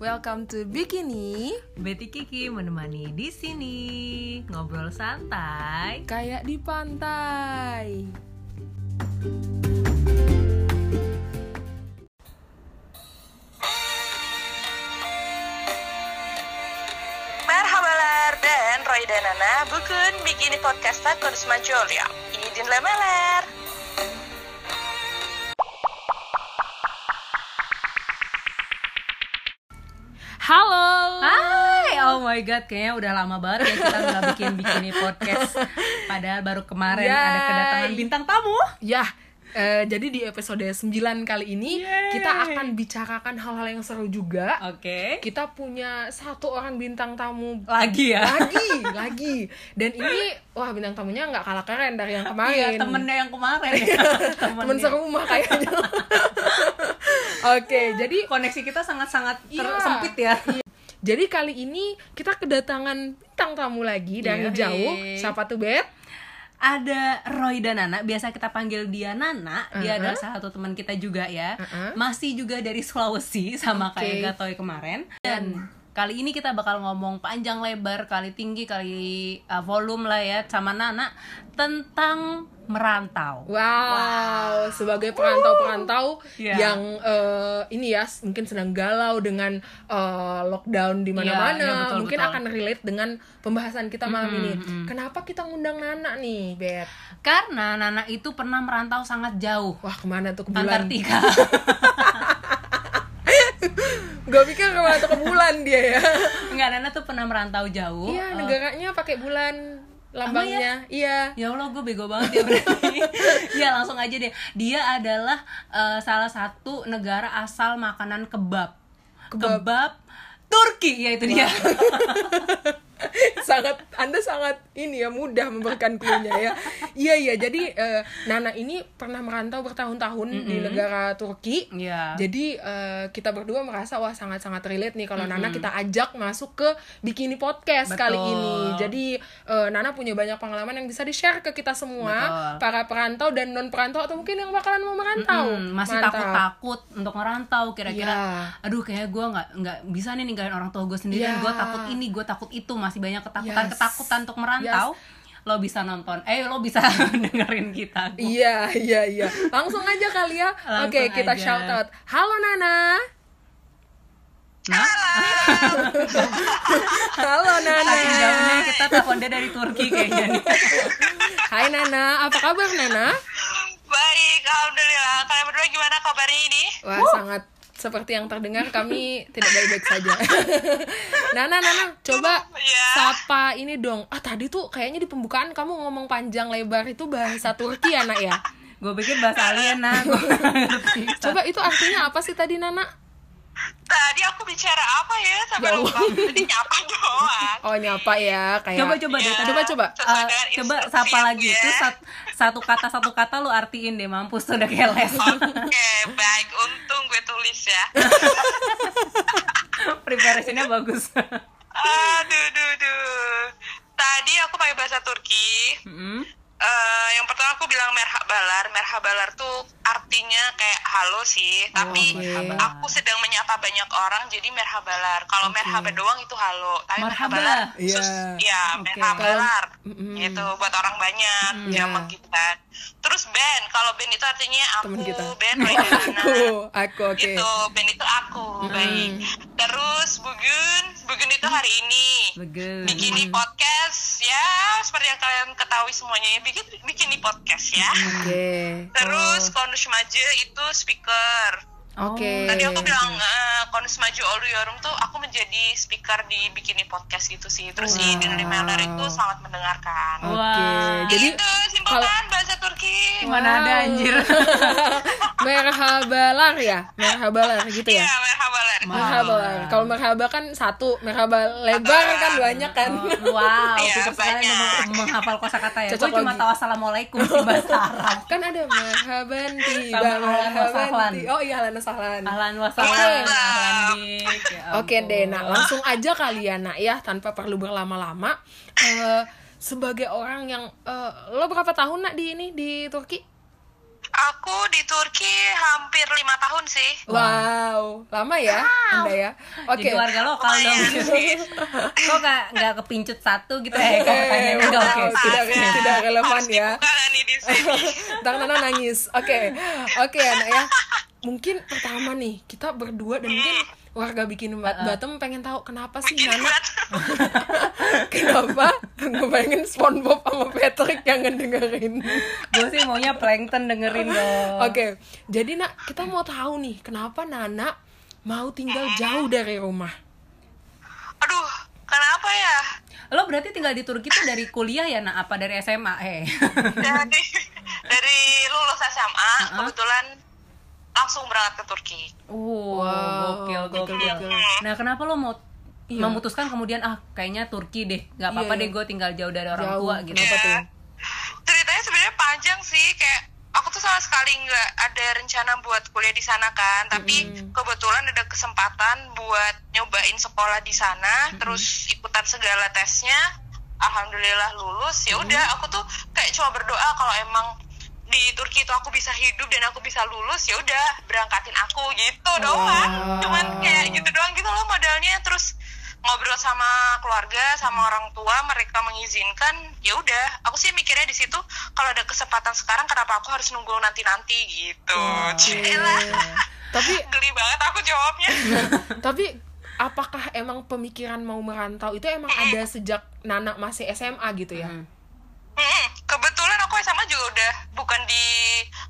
Welcome to Bikini Betty Kiki menemani di sini ngobrol santai. kayak di pantai. Merhabalar dan Roy dan Nana bukun bikini podcast'tan kudus Manchuria. Idin lemeler. Halo. Hai, oh my god, kayaknya udah lama banget ya kita nggak bikin bikini podcast. Padahal baru kemarin ada Yay. kedatangan bintang tamu. Ya, eh, jadi di episode 9 kali ini Yeay. kita akan bicarakan hal-hal yang seru juga. Oke, Kita punya satu orang bintang tamu lagi ya. lagi, lagi. Dan ini wah bintang tamunya nggak kalah keren dari yang kemarin. Iya, temennya yang kemarin ya. Temennya. Iya, Temen serumah kayaknya. Oke, jadi Koneksi kita sangat-sangat Iya. tersempit ya. Jadi kali ini kita kedatangan bintang tamu lagi dari Yoi. jauh. Siapa tuh, Beb? Ada Roy dan Nana, biasa kita panggil dia Nana. Dia adalah salah satu teman kita juga ya. Uh-uh. Masih juga dari Sulawesi sama Oke. kayak Gatoy kemarin. Dan kali ini kita bakal ngomong panjang lebar, kali tinggi, kali uh, volume lah ya sama Nana tentang merantau. Wow, sebagai perantau-perantau Iya. yang eh, ini ya s- mungkin sedang galau dengan eh, lockdown di mana-mana, Iya, iya, betul, mungkin betul. akan relate dengan pembahasan kita malam ini. Kenapa kita ngundang Nana nih, Beb? Karena Nana itu pernah merantau sangat jauh. Wah, kemana tuh ke bulan? Antartika. Gue pikir kemana tuh ke bulan dia ya. Enggak, Nana tuh pernah merantau jauh. Iya, Eh, negaranya pakai bulan lambangnya. Iya. Ya Allah, gue bego banget ya berarti. ya langsung aja deh. Dia adalah eh, salah satu negara asal makanan kebab. Kebab, Turki, ya itu dia. sangat Anda sangat ini ya mudah memberikan clue-nya ya. Iya iya jadi eh, Nana ini pernah merantau bertahun-tahun di negara Turki. Iya. Jadi eh, kita berdua merasa wah sangat-sangat relate nih kalau Nana kita ajak masuk ke Bikini Podcast Betul. kali ini. Jadi eh, Nana punya banyak pengalaman yang bisa di-share ke kita semua Betul. para perantau dan non perantau atau mungkin yang bakalan mau merantau. Hmm, masih Mantap. takut-takut untuk ngerantau kira-kira Iya. aduh kayak gue nggak nggak bisa nih ninggalin orang tua gue sendirian gue Iya. takut ini gue takut itu masih banyak ketakutan ketakutan untuk merantau lo bisa nonton eh lo bisa dengerin kita Gu. Iya, iya, iya. Langsung aja kali ya. Langsung Oke, kita aja. shout out. Halo Nana. nah Halo saking Nana. jauhnya kita telepon dia dari Turki kayaknya nih. Hai Nana, apa kabar Nana? Baik, alhamdulillah. Kalian berdua gimana kabarnya ini? Wah, sangat seperti yang terdengar kami tidak baik-baik saja. Nana, Nana, coba Ya. sapa ini dong. Ah, tadi tuh kayaknya di pembukaan kamu ngomong panjang lebar itu bahasa Turki ya, Nak ya? gue pikir bahasa alien nah gue ngerti Coba itu artinya apa sih tadi, Nana? Tadi aku bicara apa ya sampai Ya lupa. Jadi nyapa doang. Oh, nyapa ya, kayak coba coba deh Iya. tadi Coba coba. Sesuai Eh, dengan coba instruksi sapa yang lagi dia. itu sat- satu kata satu kata lu artiin deh mampus udah kayak les Oke, baik. Untung gue tulis ya. preparationnya bagus Aduh, duh, duh. Tadi aku pakai bahasa Turki. Mm. Eh, yang pertama aku bilang merhabalar. Merhabalar tuh artinya kayak halo sih, tapi Oh, oke. aku sedang menyapa banyak orang jadi merhabalar. Kalau merhaba doang itu halo, tapi Marhaba. merhabalar Iya. sus, ya Oke. merhabalar. Mm-mm. Gitu buat orang banyak Iya. yang kita. Terus Ben, kalau Ben itu artinya aku, Temen kita. Ben Aku, Roydana. aku oke. Gitu, Ben itu aku, baik. Terus Bugun, Bugun itu hari ini bagus bikini podcast ya seperti yang kalian ketahui semuanya ya bikin bikini podcast ya Oke. terus konus maju itu speaker Oke. tadi aku bilang eh, konus maju olu yorum tuh aku menjadi speaker di bikini podcast gitu sih terus di Wow. Dinner Mailer itu sangat mendengarkan Oke. Wah. Jadi itu simpel kalau- kan bahasa Turki mana ada Wow. anjir merhabalar ya, merhabalar gitu ya. Iya, merhabalar. Merhabalar. Kalau merhaba kan satu, merhaba lebar kan banyak kan. Oh, wow Iya, pikir sekali banyak. mem- menghafal kosakata ya gue Cocok cuma lagi. tahu assalamualaikum di bahasa Arab Kan ada merhaban tiba Sama ahlan wa merhaban sahlan. tiba. Oh iya Lana Sahlan. ahlan wa sahlan Mantap. ahlan dik. Ya Oke ampun. deh, nah langsung aja kali ya nak ya tanpa perlu berlama-lama. Eh, sebagai orang yang eh, lo berapa tahun nak di ini di Turki? Aku di Turki hampir lima tahun sih. Wow, lama ya Anda ya. Oke. Jadi warga lokal dong. Kok gak, gak kepincut satu gitu ya? Kok pertanyaan Eh, enggak oke. oke. wow, tidak, tidak relevan Harus ya. dibuka nggak nih di sini. Ntar Nana nangis. Oke, oke anak ya. Mungkin pertama nih kita berdua dan mungkin warga bikin Bat- Batem pengen tahu kenapa sih Bikin Nana buat kenapa ngebayangin SpongeBob sama Patrick yang ngedengerin. Gue sih maunya plankton dengerin dong. Oke, jadi nak kita mau tahu nih kenapa Nana mau tinggal jauh dari rumah. Aduh, kenapa ya? Lo berarti tinggal di Turki tuh dari kuliah ya, nah apa dari SMA? Eh. Dari, dari lulus SMA, kebetulan langsung berangkat ke Turki. Wow, Uh, gokil, gokil, gokil, gokil. Nah, kenapa lo mau Iya. memutuskan kemudian ah kayaknya Turki deh, nggak apa-apa deh gue tinggal jauh dari orang Jauh, tua gitu. kenapa tuh? Iya. ceritanya sebenarnya panjang sih kayak aku tuh sama sekali nggak ada rencana buat kuliah di sana kan tapi kebetulan ada kesempatan buat nyobain sekolah di sana terus ikutan segala tesnya alhamdulillah lulus ya udah aku tuh kayak cuma berdoa kalau emang di Turki itu aku bisa hidup dan aku bisa lulus ya udah berangkatin aku gitu doang cuman kayak gitu doang gitu loh modalnya terus ngobrol sama keluarga sama orang tua mereka mengizinkan ya udah aku sih mikirnya di situ kalau ada kesempatan sekarang kenapa aku harus nunggu nanti nanti gitu iya. Cila Tapi geli banget aku jawabnya tapi apakah emang pemikiran mau merantau itu emang ada sejak Nana masih SMA gitu ya? Hmm. Mm-mm. kebetulan aku sama juga udah bukan di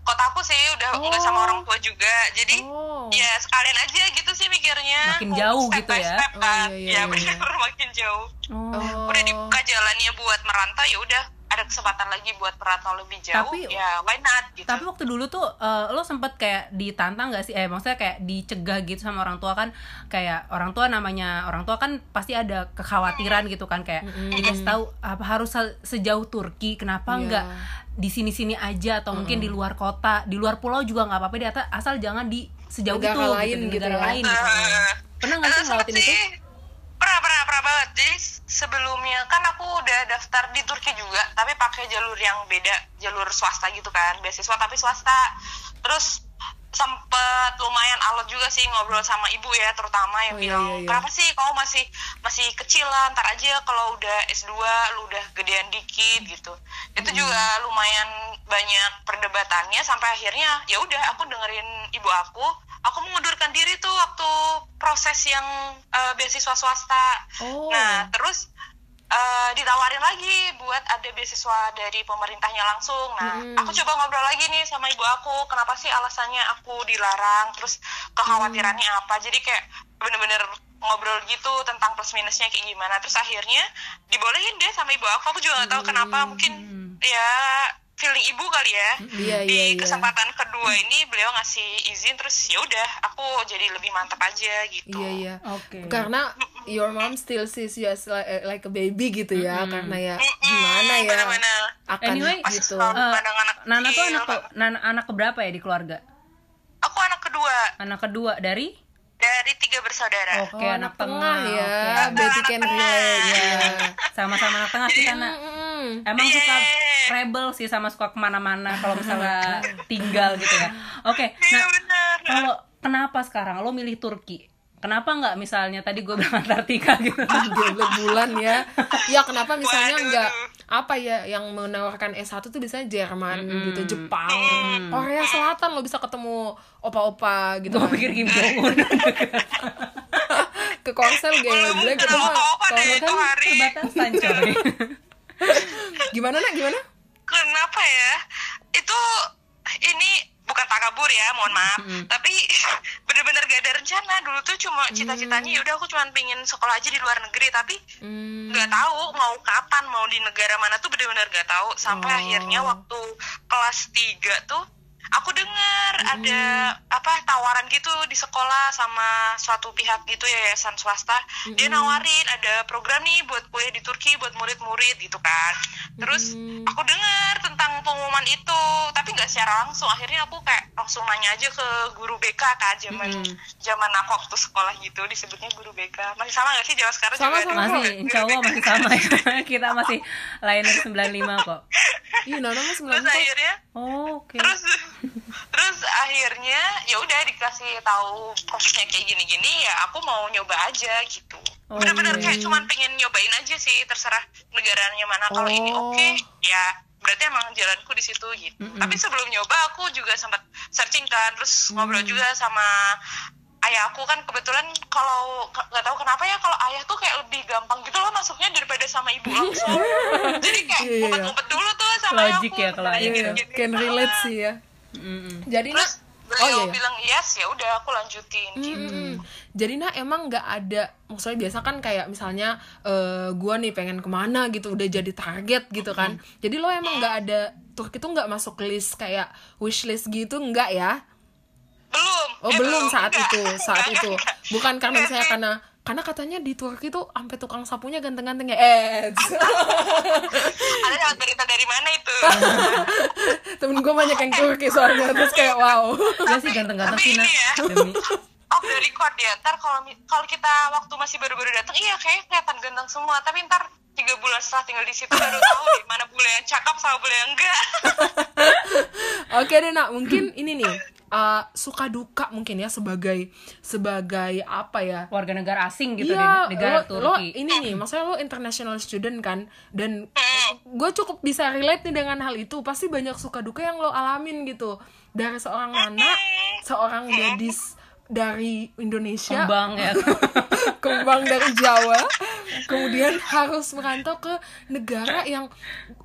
kotaku sih udah nggak sama orang tua juga jadi Oh. ya sekalian aja gitu sih mikirnya Makin Aku jauh step gitu by ya. step Oh, kan iya, iya, ya iya, bener, makin jauh Oh. udah dibuka jalannya buat merantau ya udah ada kesempatan lagi buat merantau lebih jauh Tapi- ya why not gitu Tapi waktu dulu tuh eh, lo sempet kayak ditantang gak sih? Eh maksudnya kayak dicegah gitu sama orang tua kan kayak orang tua namanya orang tua kan pasti ada kekhawatiran gitu kan kayak dikasih tahu apa harus se- sejauh Turki kenapa Iya. nggak di sini-sini aja atau mungkin di luar kota di luar pulau juga nggak apa-apa di atas asal jangan di sejauh Negara itu lain di gitu negara ya. lain misalnya. pernah nggak sih Eh, sempet ngelawatin itu? sih. Pernah, pernah, pernah banget. Jadi sebelumnya kan aku udah daftar di Turki juga, tapi pakai jalur yang beda, jalur swasta gitu kan, beasiswa tapi swasta. Terus sempet lumayan alot juga sih ngobrol sama ibu ya terutama yang Oh, iya, bilang iya, iya. kenapa sih kamu masih masih kecil lah ntar aja kalau udah S2 lu udah gedean dikit gitu itu juga lumayan banyak perdebatannya sampai akhirnya ya udah aku dengerin ibu aku aku mengundurkan diri tuh waktu proses yang eh, beasiswa swasta Oh. nah terus eh, ditawarin lagi buat ada beasiswa dari pemerintahnya langsung nah aku coba ngobrol lagi nih sama ibu aku kenapa sih alasannya aku dilarang terus kekhawatirannya Hmm. apa jadi kayak bener-bener ngobrol gitu tentang plus minusnya kayak gimana terus akhirnya dibolehin deh sama ibu aku aku juga gak tahu kenapa mungkin ya feeling ibu kali ya Hmm. Iya, di iya, iya. kesempatan kedua ini beliau ngasih izin terus ya udah aku jadi lebih mantap aja gitu Iya iya. Oke. Karena your mom still sees you as like, like a baby gitu ya, karena ya Mm-mm, gimana ya bener-bener. akan Anyway, gitu. Masih selalu pandang anak Eh, Nana tuh kecil. anak ke, Nana anak keberapa ya di keluarga? aku anak kedua Anak kedua dari? dari tiga bersaudara Oke Oh, anak tengah ya, oke. Betty can ya. relate. Iya. sama-sama anak tengah sih Nana. Mm-mm. Emang suka rebel sih sama suka kemana-mana kalau misalnya tinggal gitu ya. Oke, iya nah bener kalau kenapa sekarang lo milih Turki? Kenapa nggak misalnya tadi gue bilang Antartika gitu? Gila bulan ya. Ya kenapa misalnya Waduh. nggak apa ya yang menawarkan S1 tuh biasanya Jerman gitu, Jepang, Korea Selatan lo bisa ketemu opa-opa gitu. gue kan. pikir Kim Jong Un. Ke Korsel gila gitu. Kenal opa-opa Kalau deh nggak itu kan hari Terbatasan coy. gimana nak gimana? kenapa ya itu ini bukan tak kabur ya mohon maaf tapi bener-bener gak ada rencana dulu tuh cuma cita-citanya Mm. yaudah aku cuma pengen sekolah aja di luar negeri tapi Hmm. nggak tahu mau kapan mau di negara mana tuh bener-bener nggak tahu sampai akhirnya waktu kelas 3 tuh aku dengar ada apa tawaran gitu di sekolah sama suatu pihak gitu yayasan swasta dia nawarin ada program nih buat kuliah di Turki buat murid-murid gitu kan terus aku dengar tentang pengumuman itu tapi nggak secara langsung akhirnya aku kayak langsung nanya aja ke guru BK kan zaman zaman aku waktu sekolah gitu disebutnya guru BK masih sama nggak sih zaman sekarang Sama, juga? sama. Masih, insya Allah masih sama ya. Kita masih liner 95 kok. Ih, Iya, Nana mah sembilan terus akhirnya Oh, oke. terus akhirnya ya udah dikasih tahu prosesnya kayak gini-gini ya aku mau nyoba aja gitu Oh, bener-bener iya, kayak iya. cuman pengen nyobain aja sih terserah negaranya mana kalau ini Oh. oke ya berarti emang jalanku di situ gitu tapi sebelum nyoba aku juga sempat searching kan terus ngobrol juga sama ayah aku kan kebetulan kalau ke- nggak tahu kenapa ya kalau ayah tuh kayak lebih gampang gitu loh masuknya daripada sama ibu langsung jadi kayak Iya, iya. ngumpet-ngumpet dulu tuh sama ayah Logic aku ya kalau Nah, ayah Iya, Gitu. gitu-gitu. can relate sih ya. Mm-mm. Jadi nah, terus beliau iya, Hmm. iya. bilang yes ya udah aku lanjutin gitu Mm-mm. Jadi nah emang nggak ada maksudnya biasa kan kayak misalnya eh gua nih pengen kemana gitu udah jadi target gitu kan. Jadi lo emang nggak ada Turki tuh nggak masuk list kayak wish list gitu nggak ya? belum Oh Eh, belum saat Enggak. itu saat Enggak, itu enggak. bukan karena Enggak misalnya sih. karena karena katanya di Turki tuh sampai tukang sapunya ganteng-ganteng ya. Eh ada dapat berita dari mana itu temen gue banyak yang Turki soalnya terus kayak wow. Gak Iya sih ganteng-ganteng tapi sih ini Nak. ya. Demi. Oh, the record ya. Ntar kalau mi- kalau kita waktu masih baru-baru datang, iya kayaknya kelihatan ganteng semua. Tapi ntar tiga bulan setelah tinggal di situ baru tahu deh mana bule yang cakep sama bule yang enggak. Oke deh nak, mungkin ini nih eh, suka duka mungkin ya sebagai sebagai apa ya? Warga negara asing gitu Iya, di negara lo- lo Turki. ini nih, maksudnya lo international student kan, dan Hmm. gue cukup bisa relate nih dengan hal itu. Pasti banyak suka duka yang lo alamin gitu dari seorang anak, seorang gadis dari Indonesia, Kembang ya. kembang dari Jawa kemudian harus merantau ke negara yang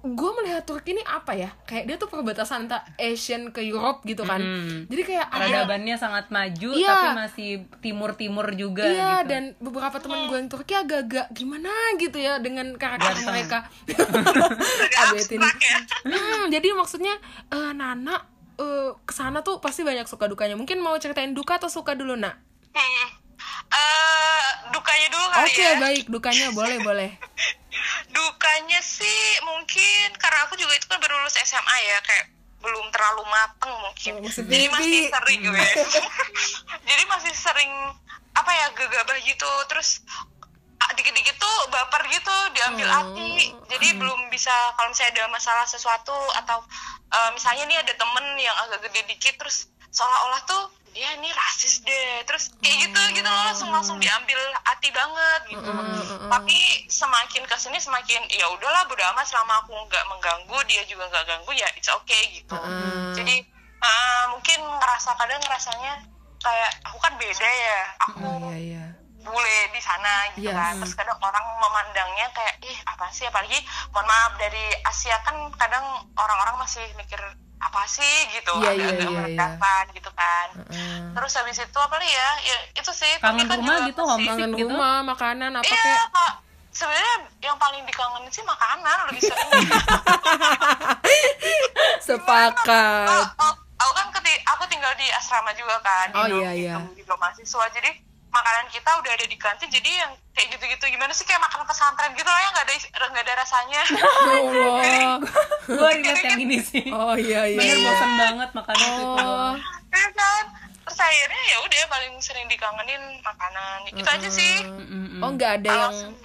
gue melihat Turki ini apa ya kayak dia tuh perbatasan antara Asian ke Europe gitu kan Mm-mm. jadi kayak ada Peradabannya sangat maju Iya. tapi masih timur-timur juga Iya gitu. dan beberapa teman gue yang Turki agak-agak gimana gitu ya dengan karakter Ganteng. mereka. Agak Abetin. abstrak ya. Hmm, jadi maksudnya eh, Nana eh, kesana tuh pasti banyak suka dukanya. Mungkin mau ceritain duka atau suka dulu nak? Hmm. Eh, dukanya dulu kali Oke ya. baik dukanya boleh boleh. Dukanya sih mungkin karena aku juga itu kan baru lulus SMA ya kayak belum terlalu mateng mungkin. Oh, masih Jadi masih baby. sering gue. Jadi masih sering apa ya gegabah gitu terus ah, dikit-dikit tuh baper gitu diambil hati jadi belum bisa kalau misalnya ada masalah sesuatu atau eh, misalnya nih ada temen yang agak gede dikit terus seolah-olah tuh ya ini rasis deh terus kayak gitu gitu loh langsung langsung diambil hati banget gitu tapi semakin kesini semakin ya udahlah bodo amat selama aku nggak mengganggu dia juga nggak ganggu ya it's okay gitu Mm. jadi ah, mungkin ngerasa kadang ngerasanya kayak aku kan beda ya aku Oh iya iya. bule di sana Yes. gitu kan terus kadang orang memandangnya kayak ih apa sih apalagi mohon maaf dari Asia kan kadang orang-orang masih mikir apa sih gitu Iya, agak-agak iya, iya, merendahkan gitu kan Mm. terus habis itu apa lagi ya ya itu sih tapi Kangen kan rumah juga gitu, pasti- homesick Kangen gitu. rumah, makanan apa iya kayak kak sebenarnya yang paling dikangenin sih makanan lebih sering sepakat. Oh, oh, aku kan keti- aku tinggal di asrama juga kan Oh, di iya, iya. di rumah mahasiswa jadi makanan kita udah ada di kantin jadi yang kayak gitu-gitu gimana sih kayak makanan pesantren gitu loh yang nggak ada is- nggak ada rasanya Ya Allah. Gue relate yang ini sih. Oh iya iya. Bener iya. bosan banget makan itu. Oh. Iya kan terus akhirnya ya udah paling sering dikangenin makanan itu aja sih Mm-mm. Oh nggak ada yang Alasan-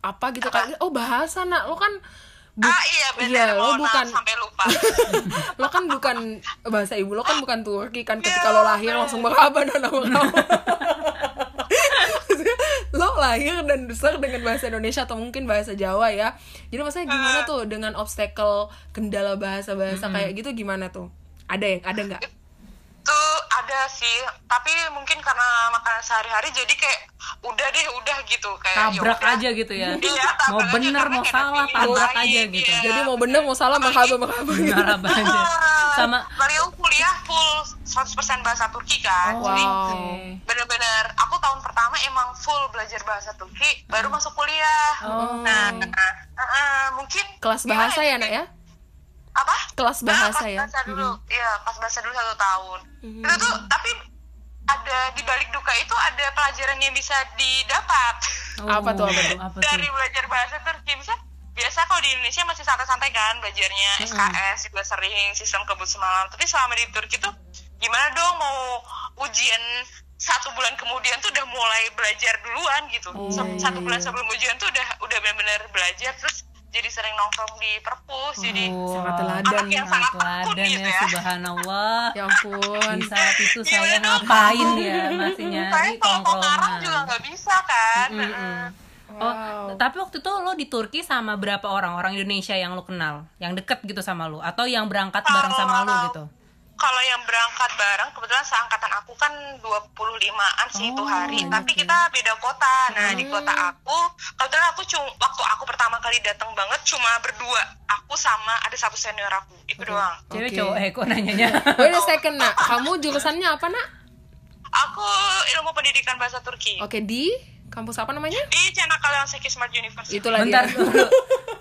apa gitu kan? Oh bahasa nak, lo kan bu- ah iya benar Iya, lo mohon maaf bukan sampai lupa lo kan bukan bahasa ibu lo kan bukan Turki kan ketika Iya, lo lahir langsung meraba dan meraba. Maksudnya, lo lahir dan besar dengan bahasa Indonesia atau mungkin bahasa Jawa ya. Jadi maksudnya gimana Ah. tuh dengan obstacle kendala bahasa-bahasa kayak gitu gimana tuh? Ada yang ada nggak? tuh ada sih tapi mungkin karena makanan sehari-hari jadi kayak udah deh udah gitu kayak ya tabrak udah. aja gitu ya. Iya, tabrak mau aja, bener karena mau nggak ada salah pilihan tabrak lain, aja gitu. iya. Jadi mau bener mau salah meraba meraba gitu. Benar apa aja. Ah, Sama beliau kuliah full 100% bahasa Turki kan. Jadi Oh, Wow. bener-bener aku tahun pertama emang full belajar bahasa Turki baru Hmm. masuk kuliah. Oh. Nah, nah, ah, ah, mungkin Kelas gimana bahasa ya nak ya? Apa? Kelas bahasa Ah, ya. Hmm. Kelas bahasa dulu. Iya, kelas bahasa dulu satu tahun. Itu tuh tapi ada di balik duka itu ada pelajaran yang bisa didapat. Apa tuh, apa tuh? Apa dari tuh? belajar bahasa Turki bisa biasa kalau di Indonesia masih santai-santai kan belajarnya SKS juga sering sistem kebut semalam tapi selama di Turki tuh gimana dong mau ujian satu bulan kemudian tuh udah Oh. mulai belajar duluan gitu Se- satu bulan sebelum ujian tuh udah udah benar-benar belajar terus jadi sering nongkrong di perpus jadi sangat anak teladan yang sangat takut Oh, teladan gitu ya ya subhanallah ya ampun di saat itu Gimana saya dong? ngapain ya masih saya nyari kalau mau ngarang juga tongkrongan nggak bisa kan Mm-mm. Oh, wow tapi waktu itu lo di Turki sama berapa orang-orang Indonesia yang lo kenal? Yang deket gitu sama lo? Atau yang berangkat bareng sama lo gitu? Kalau yang berangkat bareng kebetulan seangkatan aku kan 25-an sih itu Oh, oke. hari, Hmm. tapi kita beda kota. Nah, di kota aku kebetulan aku cuma waktu aku pertama kali datang banget cuma berdua, aku sama ada satu senior aku. Itu doang. Cewek Oke. cowok, eh kok nanyanya? Wait a second, nak. Kamu jurusannya apa, nak? Aku ilmu pendidikan bahasa Oh. Turki. Oke, di kampus apa namanya? Di Çanakkale Seki Smart University. Itulah Bentar dia. ya. dulu,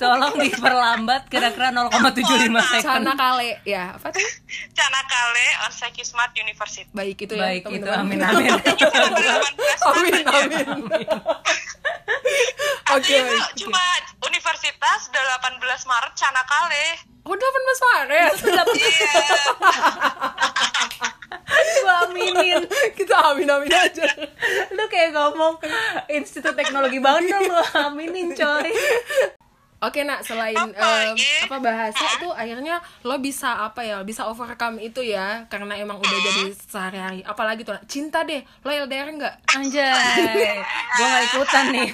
tolong diperlambat kira-kira 0,75 second Sana kale, ya apa tuh? Çanakkale Seki Smart University. Baik itu ya. Baik itu, amin teman-teman. amin Itu 2018 amin, banget ya. amin. Oh, Oke. Artinya tuh cuma universitas 18 Maret Çanakkale. Oh, 18 Maret. Iya. Gua aminin Kita amin-amin aja. Lu kayak ngomong Institut Teknologi Bandung lu aminin coy Oke, Nak, selain em, Apa, Ye? apa bahasa tuh akhirnya lo bisa apa ya? Bisa overcome itu ya karena emang udah jadi sehari-hari. Apalagi tuh, Nak, cinta deh. Lo LDR enggak? Anjay Gua gak ikutan nih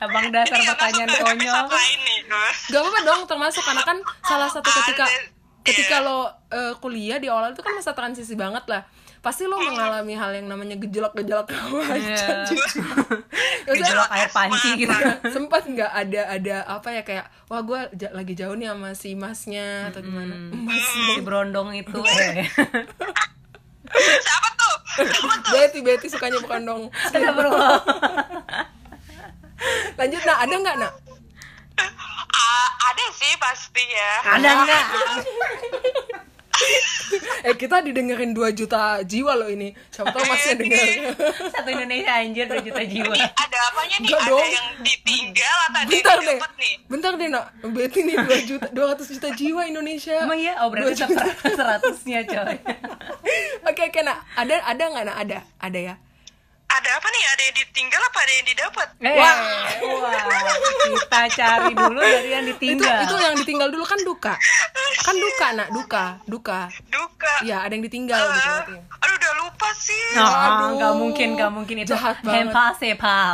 Abang dasar Ini nggak pertanyaan masuk ke konyol episode lain nih. Gak apa-apa dong termasuk karena kan salah satu ketika Ada- ketika lo eh, kuliah di awal itu kan masa transisi banget lah pasti lo mengalami hal yang namanya gejolak-gejolak remaja Iya. gitu. Maksudnya, Gejolak air panci gitu sempat nggak ada ada apa ya kayak wah gue lagi jauh nih sama si masnya atau gimana mas Si berondong itu eh. Siapa tuh? Siapa tuh? Betty Betty sukanya bukan dong Ada bro lanjut nah ada nggak nak A- Ah, ada sih pasti ya. Ada enggak? eh kita didengerin 2 juta jiwa lo ini siapa tau masih yang denger Satu Indonesia anjir 2 juta jiwa Iya. Ini ada apanya nih? Nggak ada dong. yang ditinggal atau ada bentar yang deh dapet nih? bentar deh nak Betty nih 2 juta 200 juta jiwa Indonesia Emang ya? Oh berarti Dua juta. seper- seratusnya coy Oke oke nak ada ada nggak nak ada ada ya. Ada apa nih? Ada yang ditinggal apa ada yang didapat? Eh, Wah. wah, kita cari dulu dari yang Itu ditinggal. itu yang ditinggal dulu kan duka, kan duka nak duka duka. Duka. Iya ada yang ditinggal gitu. Eh, nanti. aduh udah lupa sih. Nah, Aduh, nggak mungkin, nggak mungkin itu. ya, jahat banget. Hempal sepal.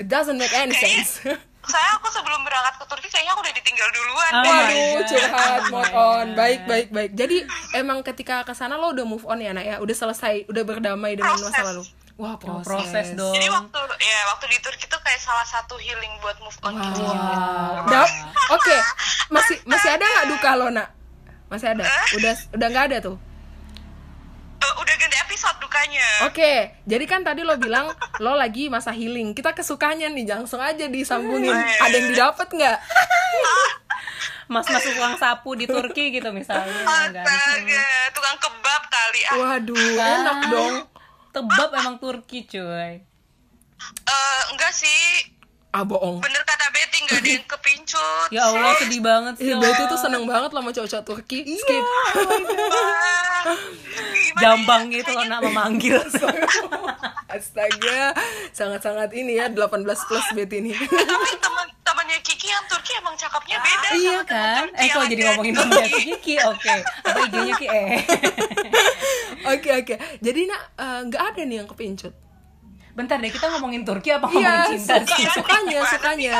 It doesn't make any sense. Saya aku sebelum berangkat ke Turki kayaknya aku udah ditinggal duluan. Ah. deh. Waduh God. curhat Oh move my on God. baik baik baik. Jadi emang ketika kesana lo udah move on ya nak ya, udah selesai udah berdamai dengan masa Proses. lalu. Wah proses. Proses dong. Jadi waktu ya waktu di Turki tuh kayak salah satu healing buat move on gitu. Wow. Dap- Oke masih masih ada nggak duka lo nak? Masih ada? Udah udah nggak ada tuh. Eh, udah ganti episode dukanya. Oh, iya, Oke, jadi kan tadi lo bilang lo lagi masa healing. Kita kesukanya nih, langsung aja disambungin. Ada yang didapat nggak? Mas mas uang sapu di Turki gitu misalnya. nggak ada. Astaga, tukang kebab kali ah. Waduh, Iya. enak dong. Tebab emang Turki cuy. Eh, enggak sih, Ah bohong. bener kata Betty nggak ada yang kepincut. Ya Allah Iya. sedih banget sih. Ih, lo. Betty tuh seneng banget lo sama cowok-cowok Turki. Iya. Skip. Wah, gimana Jambang ya? gitu lo nak memanggil. Astaga, sangat-sangat ini ya 18 plus Betty ini. Tapi teman-temannya Kiki yang Turki emang cakepnya beda. sama iya kan? teman-teman Eh kalau yang jadi ada ngomongin di temennya Turki. Kiki, oke. Apa IG-nya Ki? Eh. Oke oke. Jadi nak eh, nggak ada nih yang kepincut. Bentar deh kita ngomongin Turki apa Iya, ngomongin Oh, cinta suka- sih? sukanya, sukanya.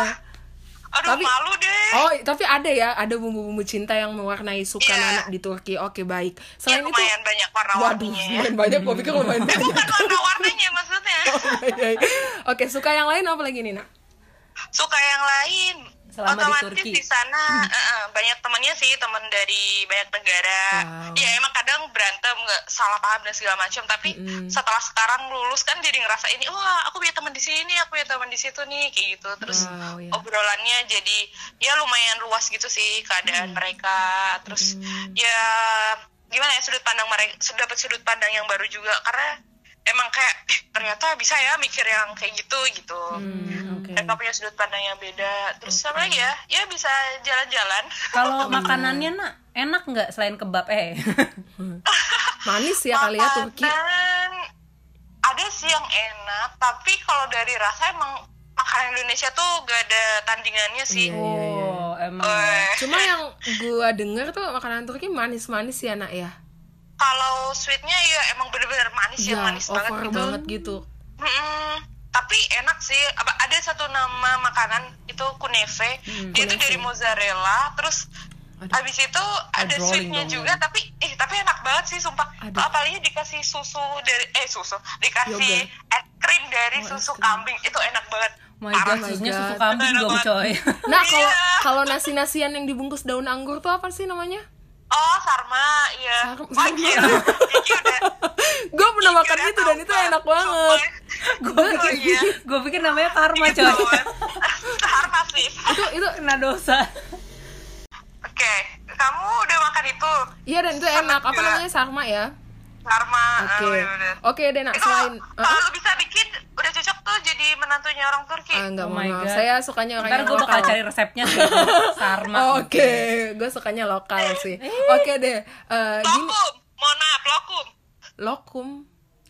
Aduh Tapi- Iya, malu deh. Oh, tapi ada ya, ada bumbu-bumbu cinta yang mewarnai suka Iya. anak di Turki. Oke, baik. Ya, Selain itu, lumayan banyak waduh, warna-warninya. ya. lumayan banyak. Gue pikir lumayan banyak. Iya, Bukan warna-warnanya maksudnya. Oh. Oke, suka yang lain apa lagi nih, Nak? suka yang lain Selama di otomatis Turki. di sana eh, eh, banyak temannya sih teman dari banyak negara Wow. ya emang kadang berantem nggak salah paham dan segala macam tapi setelah sekarang lulus kan jadi ngerasa ini wah aku punya teman di sini aku punya teman di situ nih kayak gitu terus Wow, ya. obrolannya jadi ya lumayan luas gitu sih Mm. keadaan mereka terus ya gimana ya sudut pandang mereka sudah dapat sudut pandang yang baru juga karena emang kayak "Ih, ternyata bisa ya mikir yang kayak gitu gitu Oke. mereka punya sudut pandang yang beda terus apa lagi ya ya bisa jalan-jalan Kalau makanannya nak enak nggak selain kebab eh? Iya, Manis ya kali ya Turki. Makanan, ada sih yang enak tapi kalau dari rasa emang makanan Indonesia tuh gak ada tandingannya sih Iya, iya, iya. Oh, emang Eh, Cuma yang gua denger tuh makanan Turki manis-manis ya nak ya. kalau sweetnya ya emang bener-bener manis Iya, ya, manis banget over gitu banget gitu. Mm-mm. tapi enak sih Apa- ada satu nama makanan itu kuneve dia kunefé. itu dari mozzarella terus Hmm, Aduh. habis itu ada rolling sweetnya dong, juga tapi eh tapi enak banget sih sumpah ya. Aduh. apalagi dikasih susu dari eh susu dikasih es krim Oh, dari es susu krim. Oh kambing itu enak banget my Parah. god, susunya God. susu kambing Enak dong banget. coy. Nah, kalau Iya. kalau nasi-nasian yang dibungkus daun anggur tuh apa sih namanya? oh sarma iya Sar- Wah, sarma. gila. Kiki udah Gua pernah makan Kiki udah itu tahu dan itu banget, enak banget. gue sumpah. Oh, pikir, iya. gue pikir namanya karma Dikit coy. banget. sarma sih Itu itu Kena dosa. oke kamu udah makan itu iya dan itu enak. Apa namanya? Sarma ya. Oke. sarma ah, bener-bener. Oke deh nak Itu selain Ah, kalau lu bisa bikin udah cocok tuh jadi menantunya orang Turki. ah, enggak Oh my mau maaf. God. Saya sukanya Iya, orang Ntar yang gue lokal. bakal cari resepnya sih. Oh, Sarma. Oh, Oke, gue sukanya lokal sih. Oke deh. eh, gini, lokum, mohon maaf lokum. lokum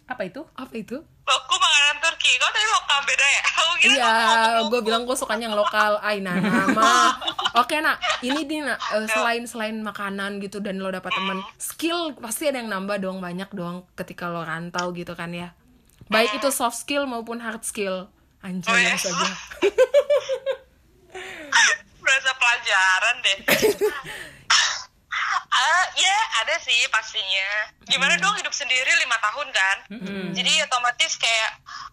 Apa itu? apa itu? Lokum makanan Turki. Kau tadi lokal beda ya? Aku kira Iya, kamu ngomong lokum. gue bilang gue sukanya yang lokal. Ay, nah, nama. Oke, nak. Ini di nak eh, selain selain makanan gitu dan lo dapat temen, skill pasti ada yang nambah dong banyak dong ketika lo rantau gitu kan ya. Baik itu soft skill maupun hard skill. Anjay, Oh, iya. langsung aja. berasa pelajaran deh. Ah, ya ada sih pastinya. Gimana Hmm. dong hidup sendiri lima tahun kan? Jadi otomatis kayak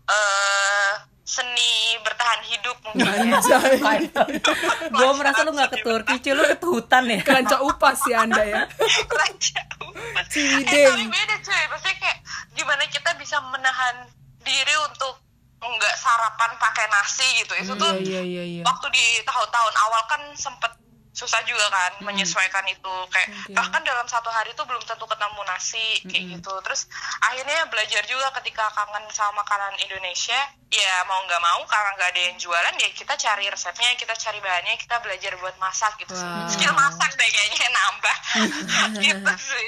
eh seni bertahan hidup mungkin. ya. Anjay. gue merasa lu nggak ke Turki, cuy lu ke hutan ya. Keranca upas ya Anda ya. Raja Upas. Eh, Cideng. tapi beda cuy. Maksudnya kayak gimana kita bisa menahan diri untuk nggak sarapan pakai nasi gitu. Itu tuh Iya, iya, iya, iya. waktu di tahun-tahun awal kan sempet susah juga kan Hmm. menyesuaikan itu kayak Oke. bahkan dalam satu hari tuh belum tentu ketemu nasi kayak Hmm. gitu terus akhirnya belajar juga ketika kangen sama makanan Indonesia ya mau nggak mau karena nggak ada yang jualan ya kita cari resepnya kita cari bahannya kita belajar buat masak gitu sih. Wow. skill masak deh kayaknya nambah gitu sih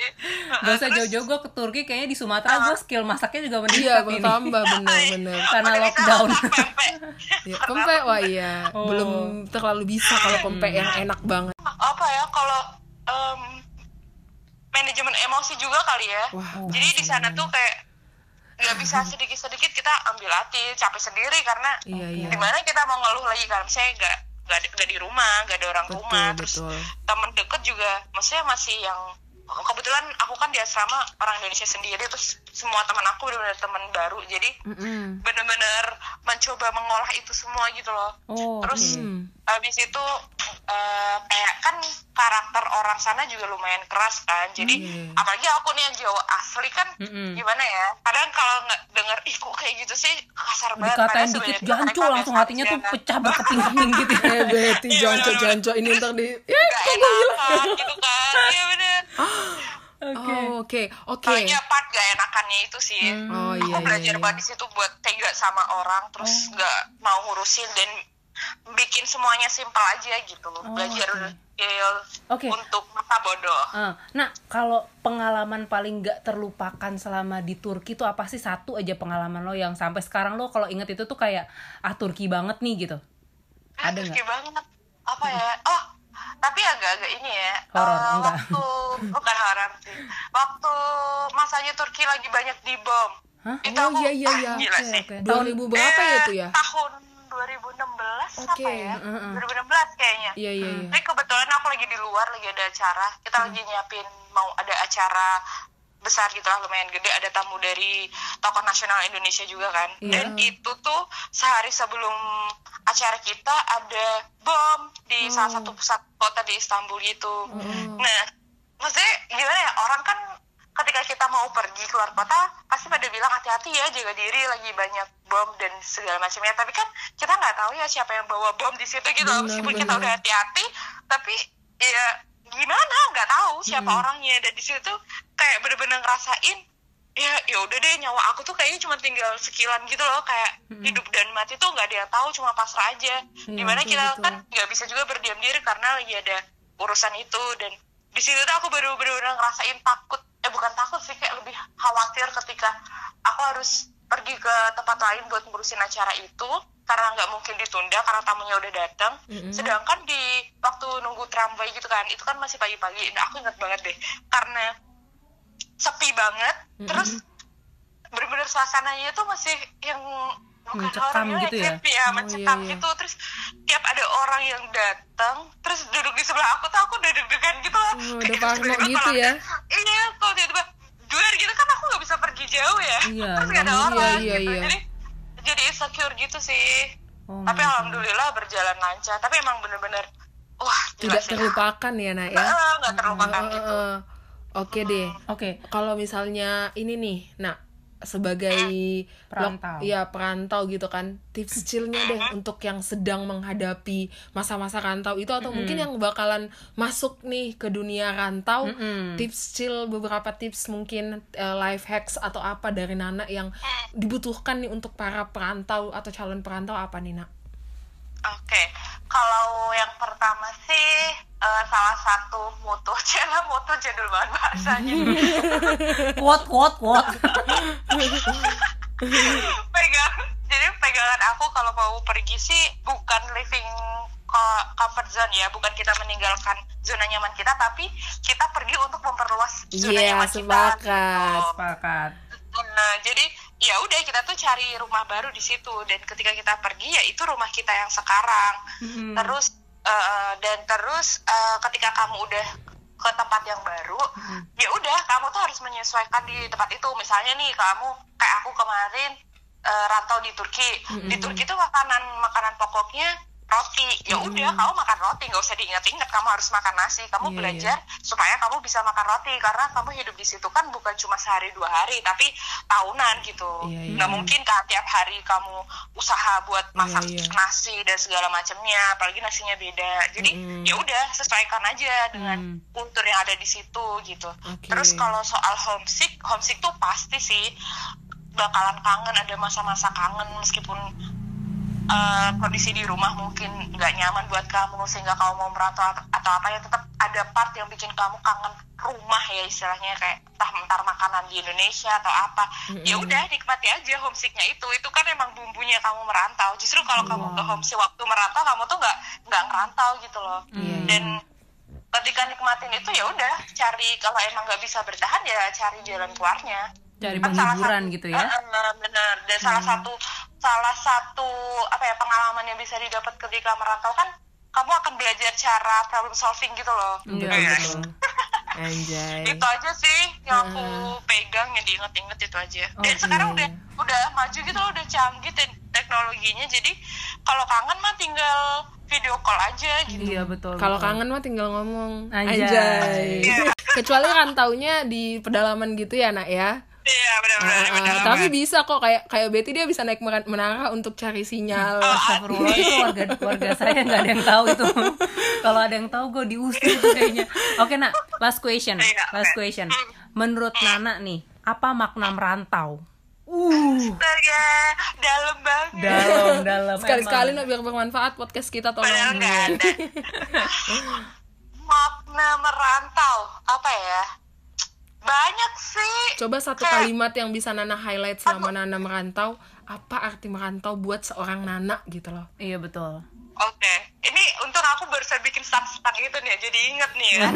Gak usah Terus- jauh-jauh gue ke Turki, kayaknya di Sumatera gue skill masaknya juga Ah. Iya, meningkat ini. bertambah bener-bener. Karena Udah bisa lockdown. masak pempek. Ya, pempek wah iya, Oh. belum terlalu bisa kalau pempek yang enak banget. apa ya kalau em, manajemen emosi juga kali ya Wah. jadi di sana tuh kayak nggak bisa sedikit-sedikit kita ambil hati capek sendiri karena Iya, iya. dimana kita mau ngeluh lagi kan saya nggak nggak ada- nggak di rumah nggak ada orang Betul, rumah terus betul. teman deket juga maksudnya masih yang kebetulan aku kan di asrama orang Indonesia sendiri terus semua teman aku benar-benar teman baru jadi Mm-mm. bener-bener mencoba mengolah itu semua gitu loh. Oh, Terus oke. habis itu eh, kayak kan karakter orang sana juga lumayan keras kan. Jadi Hmm. apalagi aku nih yang Jawa asli kan Iya. Mm-mm. gimana ya? Kadang kalau nggak denger ih kok kayak gitu sih kasar banget. Dikatain Padahal dikit sebenarnya mereka jancur langsung biasa hatinya aja, tuh kan. pecah berkeping-keping gitu ya. Eh, Betty, janco-janco ini ntar di... Ya, Nggak enakan gitu kan. Iya bener. Oke. Oh, oke, oke. Soalnya part gak enakannya itu sih. Hmm, Oh, aku iya, iya, belajar iya. banget di situ buat tega sama orang terus Oh. nggak mau ngurusin dan bikin semuanya simpel aja gitu belajar skill Oh, Oke. untuk mata bodoh Ah, nah, kalau pengalaman paling gak terlupakan selama di Turki tuh apa sih satu aja pengalaman lo yang sampai sekarang lo kalau inget itu tuh kayak ah Turki banget nih gitu. Ah, Ada tricky banget apa ya oh tapi agak-agak ini ya Horor, eh, enggak. waktu bukan horor sih waktu masanya Turki lagi banyak dibom Hah? itu Oh, aku iya, iya, ah, iya. gila Oke, sih oke. Tahun ribu berapa ya Eh, itu ya? tahun Oke, 2016 apa ya mm-mm. 2016 kayaknya Iya, iya, iya. Tapi Eh, kebetulan aku lagi di luar, lagi ada acara. Kita lagi nyiapin mau ada acara besar gitu lah, lumayan gede. Ada tamu dari tokoh nasional Indonesia juga kan. Iya. Dan itu tuh sehari sebelum acara kita ada bom di salah satu pusat kota di Istanbul gitu. Hmm. Oh, Nah, maksudnya gimana ya? Orang kan ketika kita mau pergi keluar kota pasti pada bilang hati-hati ya jaga diri lagi banyak bom dan segala macamnya tapi kan kita nggak tahu ya siapa yang bawa bom di situ gitu Benar, meskipun kita benar. udah hati-hati tapi ya gimana nggak tahu siapa Hmm. orangnya dan di situ kayak bener-bener ngerasain ya ya udah deh nyawa aku tuh kayaknya cuma tinggal sekilan gitu loh kayak Hmm. hidup dan mati tuh nggak ada yang tahu cuma pasrah aja Iya, dimana betul, kita betul. kan nggak bisa juga berdiam diri karena lagi ada urusan itu dan di situ tuh aku baru bener-bener ngerasain takut eh bukan takut sih kayak lebih khawatir ketika aku harus pergi ke tempat lain buat ngurusin acara itu karena nggak mungkin ditunda karena tamunya udah datang sedangkan di waktu nunggu tramway gitu kan itu kan masih pagi-pagi nah aku ingat banget deh karena sepi banget terus bener-bener suasananya tuh masih yang bukan Mencekam horornya, gitu ya? creepy ya Oh, mencekam iya, iya. gitu terus tiap ada orang yang datang terus duduk di sebelah aku tuh aku udah deg-degan gitu loh Oh, Kayak udah parno terus tiba-tiba gitu kalau- ya. iya kalau tiba-tiba duer gitu kan aku nggak bisa pergi jauh ya Iya, terus gak ada iya, orang iya, gitu iya. jadi jadi insecure gitu sih Oh tapi my God. alhamdulillah berjalan lancar tapi emang bener-bener wah gila tidak sih. terlupakan ya nak ya Eh, nggak terlupakan Eh, gitu eh, oke deh Oke. kalau misalnya ini nih nak sebagai Eh, Perantau. lok- ya perantau gitu kan tips kecilnya deh untuk yang sedang menghadapi masa-masa rantau itu atau mungkin yang bakalan masuk nih ke dunia rantau Mm-mm. tips chill beberapa tips mungkin eh, life hacks atau apa dari Nana yang dibutuhkan nih untuk para perantau atau calon perantau apa nih nak Oke, kalau yang pertama sih eh, salah satu moto, cila moto jadul banget bahasanya. Quote quote quote. Pegang, jadi pegangan aku kalau mau pergi sih bukan living co- comfort zone ya, bukan kita meninggalkan zona nyaman kita, tapi kita pergi untuk memperluas zona Iya, nyaman kita. sepakat. Gitu. Sepakat. Nah, jadi ya udah kita tuh cari rumah baru di situ dan ketika kita pergi ya itu rumah kita yang sekarang. Mm-hmm. Mhm. Terus eh, dan terus eh, ketika kamu udah ke tempat yang baru, Mm-hmm. ya udah kamu tuh harus menyesuaikan di tempat itu. Misalnya nih kamu kayak aku kemarin eh, rantau di Turki. Di Mm-hmm. Turki tuh makanan makanan pokoknya roti. Ya udah kamu makan roti, nggak usah diingat-ingat kamu harus makan nasi. Kamu Mm-hmm. Iya, belajar supaya kamu bisa makan roti karena kamu hidup di situ kan bukan cuma sehari dua hari tapi tahunan gitu Iya, iya. nggak mungkin kan tiap hari kamu usaha buat masak iya. nasi dan segala macamnya apalagi nasinya beda jadi Mm-mm. ya udah sesuaikan aja dengan Mm. kultur yang ada di situ gitu Oke. terus kalau soal homesick homesick tuh pasti sih bakalan kangen ada masa-masa kangen meskipun eh, kondisi di rumah mungkin nggak nyaman buat kamu sehingga kamu mau merantau at- atau apa ya tetap ada part yang bikin kamu kangen rumah ya istilahnya kayak entah entar makanan di Indonesia atau apa ya udah nikmati aja homesicknya itu itu kan emang bumbunya kamu merantau justru kalau kamu Iya. ke homesick waktu merantau kamu tuh nggak nggak ngerantau gitu loh Iya, iya. dan ketika nikmatin itu ya udah cari kalau emang nggak bisa bertahan ya cari jalan keluarnya Cari Kan salah penghiburan satu- gitu ya. Eh, eh, bener dan salah satu salah satu apa ya pengalaman yang bisa didapat ketika merantau kan kamu akan belajar cara problem solving gitu loh Iya, Iya. betul. anjay itu aja sih yang aku Hmm. pegang yang diinget-inget itu aja Oh, Oke. dan iya. sekarang udah udah maju gitu loh udah canggih te- teknologinya jadi kalau kangen mah tinggal video call aja gitu Iya betul. Kalau betul. kangen mah tinggal ngomong. Anjay. Kecuali rantaunya di pedalaman gitu ya, Nak ya. iya Oh, benar-benar Ah, benar tapi bisa kok kayak kayak Betty dia bisa naik mera- menara untuk cari Oh, sinyal. ah. Astagfirullah itu warga warga saya nggak ada yang tahu itu. Kalau ada yang tahu gue diusir itu kayaknya. Oke nak, last question, Iya, last oke. Hmm. question. Menurut Nana nih, apa makna merantau? Uh, Astaga, Iya, dalam banget dalam dalam. Sekali-sekali emang. nak biar bermanfaat podcast kita tolong. Padahal nggak ada. Makna merantau apa ya? Banyak sih. Coba satu Kayak- kalimat yang bisa Nana highlight selama Nana merantau. Apa arti merantau buat seorang Nana gitu loh. Iya betul. Oke, ini untung aku barusan bikin status-status gitu nih, ya, jadi inget nih ya.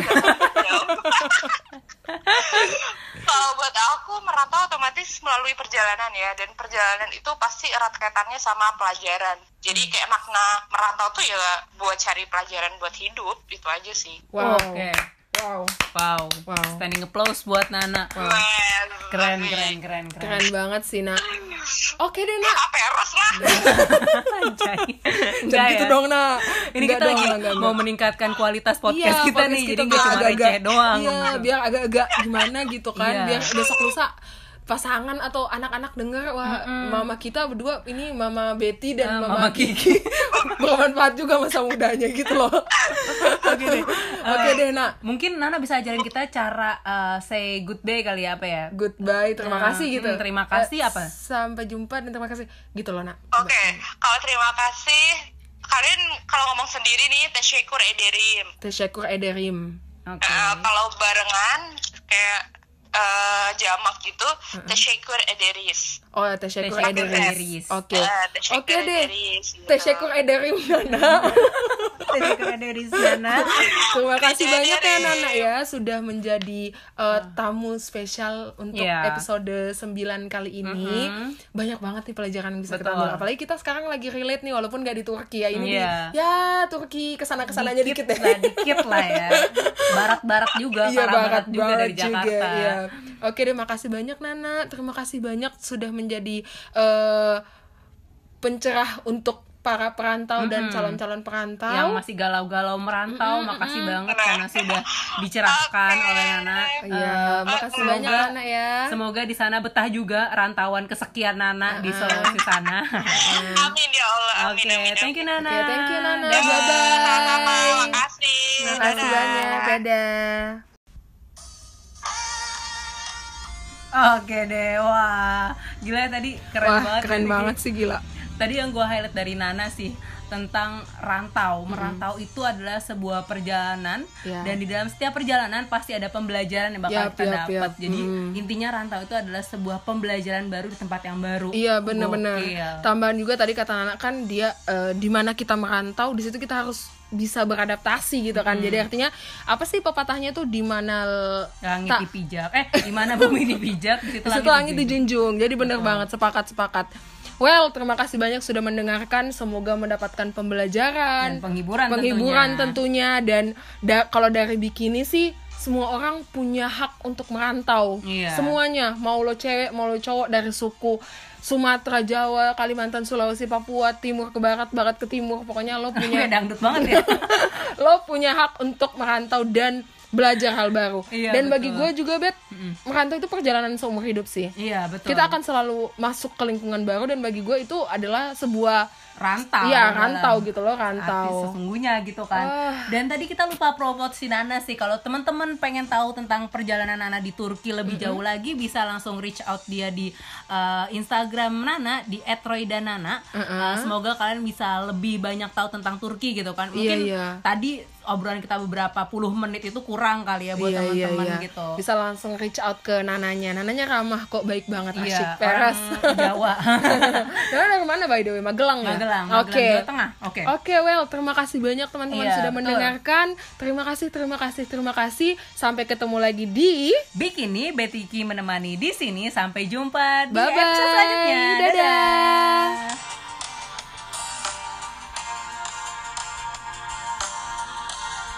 Kalau buat aku merantau otomatis melalui perjalanan ya, dan perjalanan itu pasti erat kaitannya sama pelajaran. Jadi kayak makna merantau tuh ya buat cari pelajaran buat hidup, itu aja sih. Wow. Oke. Wow. Wow. Wow. Standing applause buat Nana. Keren, Oh. Keren keren keren keren. Keren banget sih, Nak. Oke deh, Nak. Apa eros lah. Anjay. Enggak Jangan gitu ya. dong, Nak. Ini Enggak kita dong, lagi enggak, enggak. mau meningkatkan kualitas podcast Iya, kita nih, jadi kita nggak biar cuma agak-agak- receh doang. Iya, biar agak-agak gimana gitu kan, Iya. biar besok lusa pasangan atau anak-anak denger wah mama kita berdua ini mama Betty Ah, dan mama, Mama Kiki. bermanfaat juga masa mudanya gitu loh. Oke deh. Oke Eh, deh, Nak. Mungkin Nana bisa ajarin kita cara eh, say good day kali ya apa ya? Goodbye, terima Nah, kasih gitu. hmm, terima kasih Eh, apa? Sampai jumpa dan terima kasih gitu loh, Nak. Oke, kalau terima kasih. Kalian kalau ngomong sendiri nih, tasyakur ederim. Tasyakur ederim. Oke. Eh, kalau Hmm. barengan, kayak eh, jamak gitu, tasyakur ederis. Oh, Tasyakur Tasyakur Edaris. Edaris. Oke. Ah, Tasyakur Oke deh. Edaris, gitu. Tasyakur Edaris Nana. Iya. Tasyakur Edaris Nana. Terima kasih Tasyakur banyak ya Edaris. Nana ya sudah menjadi eh, tamu spesial Hmm. untuk Iya. Mm-hmm. episode 9 kali ini. Banyak banget nih pelajaran yang bisa kita Betul. ambil. Apalagi kita sekarang lagi relate nih walaupun nggak di Turki ya ini. di- Iya. ya Turki kesana kesananya dikit, deh. lah, dikit lah ya. Barat-barat juga, arah Iya barat, barat juga banget dari Jakarta. iya. Oke terima kasih banyak Nana, terima kasih banyak sudah menjadi eh, pencerah untuk para perantau dan calon-calon perantau. Mm-hmm. Yang masih galau-galau merantau, makasih banget karena sudah dicerahkan Oke. oleh Nana. Iya, Eh, makasih semoga- banyak Nana ya. Semoga di sana betah juga rantauan kesekian Nana di Sulawesi sana. Amin ya Allah. Hmm. Oke, Amin amin. thank you Nana. Oke, thank you Nana. Dadah. Bye-bye. Sama-sama. Makasih. Terima kasih Dadah. banyak. Dadah. Oke deh, wah gila ya tadi keren Wah, banget. keren Jadi, banget sih gila. Tadi yang gue highlight dari Nana sih tentang rantau. Merantau itu adalah sebuah perjalanan Ya. dan di dalam setiap perjalanan pasti ada pembelajaran yang bakal Yap, kita yap, dapat. yap. Jadi intinya rantau itu adalah sebuah pembelajaran baru di tempat yang baru. Iya benar-benar. Gokil. Tambahan juga tadi kata Nana kan dia eh, di mana kita merantau di situ kita harus bisa beradaptasi gitu Hmm. kan. Jadi artinya apa sih pepatahnya tuh di mana l- Langit tak- dipijak. Eh, gimana bumi dipijak di situ Di situ langit dijunjung. Jadi bener banget sepakat-sepakat. Well, terima kasih banyak sudah mendengarkan. Semoga mendapatkan pembelajaran, Dan penghiburan penghiburan tentunya. tentunya. Dan da- kalau dari bikini sih semua orang punya hak untuk merantau. Iya. Semuanya, mau lo cewek, mau lo cowok dari suku Sumatera, Jawa, Kalimantan, Sulawesi, Papua, timur ke barat, barat ke timur. Pokoknya lo Kayak punya dangdut banget ya. lo punya hak untuk merantau dan belajar hal baru. Iya, dan betul. bagi gue juga bet, merantau itu perjalanan seumur hidup sih. iya, betul. Kita akan selalu masuk ke lingkungan baru dan bagi gue itu adalah sebuah rantau. Iya, dalam rantau gitu loh, rantau. arti sesungguhnya gitu kan. Ah. Dan tadi kita lupa promote si Nana sih. Kalau teman-teman pengen tahu tentang perjalanan Nana di Turki lebih jauh lagi bisa langsung reach out dia di uh, Instagram Nana di @roydanana. Uh, semoga kalian bisa lebih banyak tahu tentang Turki gitu kan. Mungkin Iya, iya. tadi obrolan kita beberapa puluh menit itu kurang kali ya buat Iya, iya, teman-teman iya. gitu. Bisa langsung reach out ke nananya. Nananya ramah kok, baik banget, asyik Iya, peres. orang Jawa. Nana dari mana by the way? Magelang ya? Magelang, Magelang Oke. Jawa Tengah. Oke. Oke, well, terima kasih banyak teman-teman Iya, sudah betul. mendengarkan. Terima kasih, terima kasih, terima kasih. Sampai ketemu lagi di Bikini Betiki menemani di sini. Sampai jumpa di Bye-bye. episode selanjutnya. Dadah. Dadah.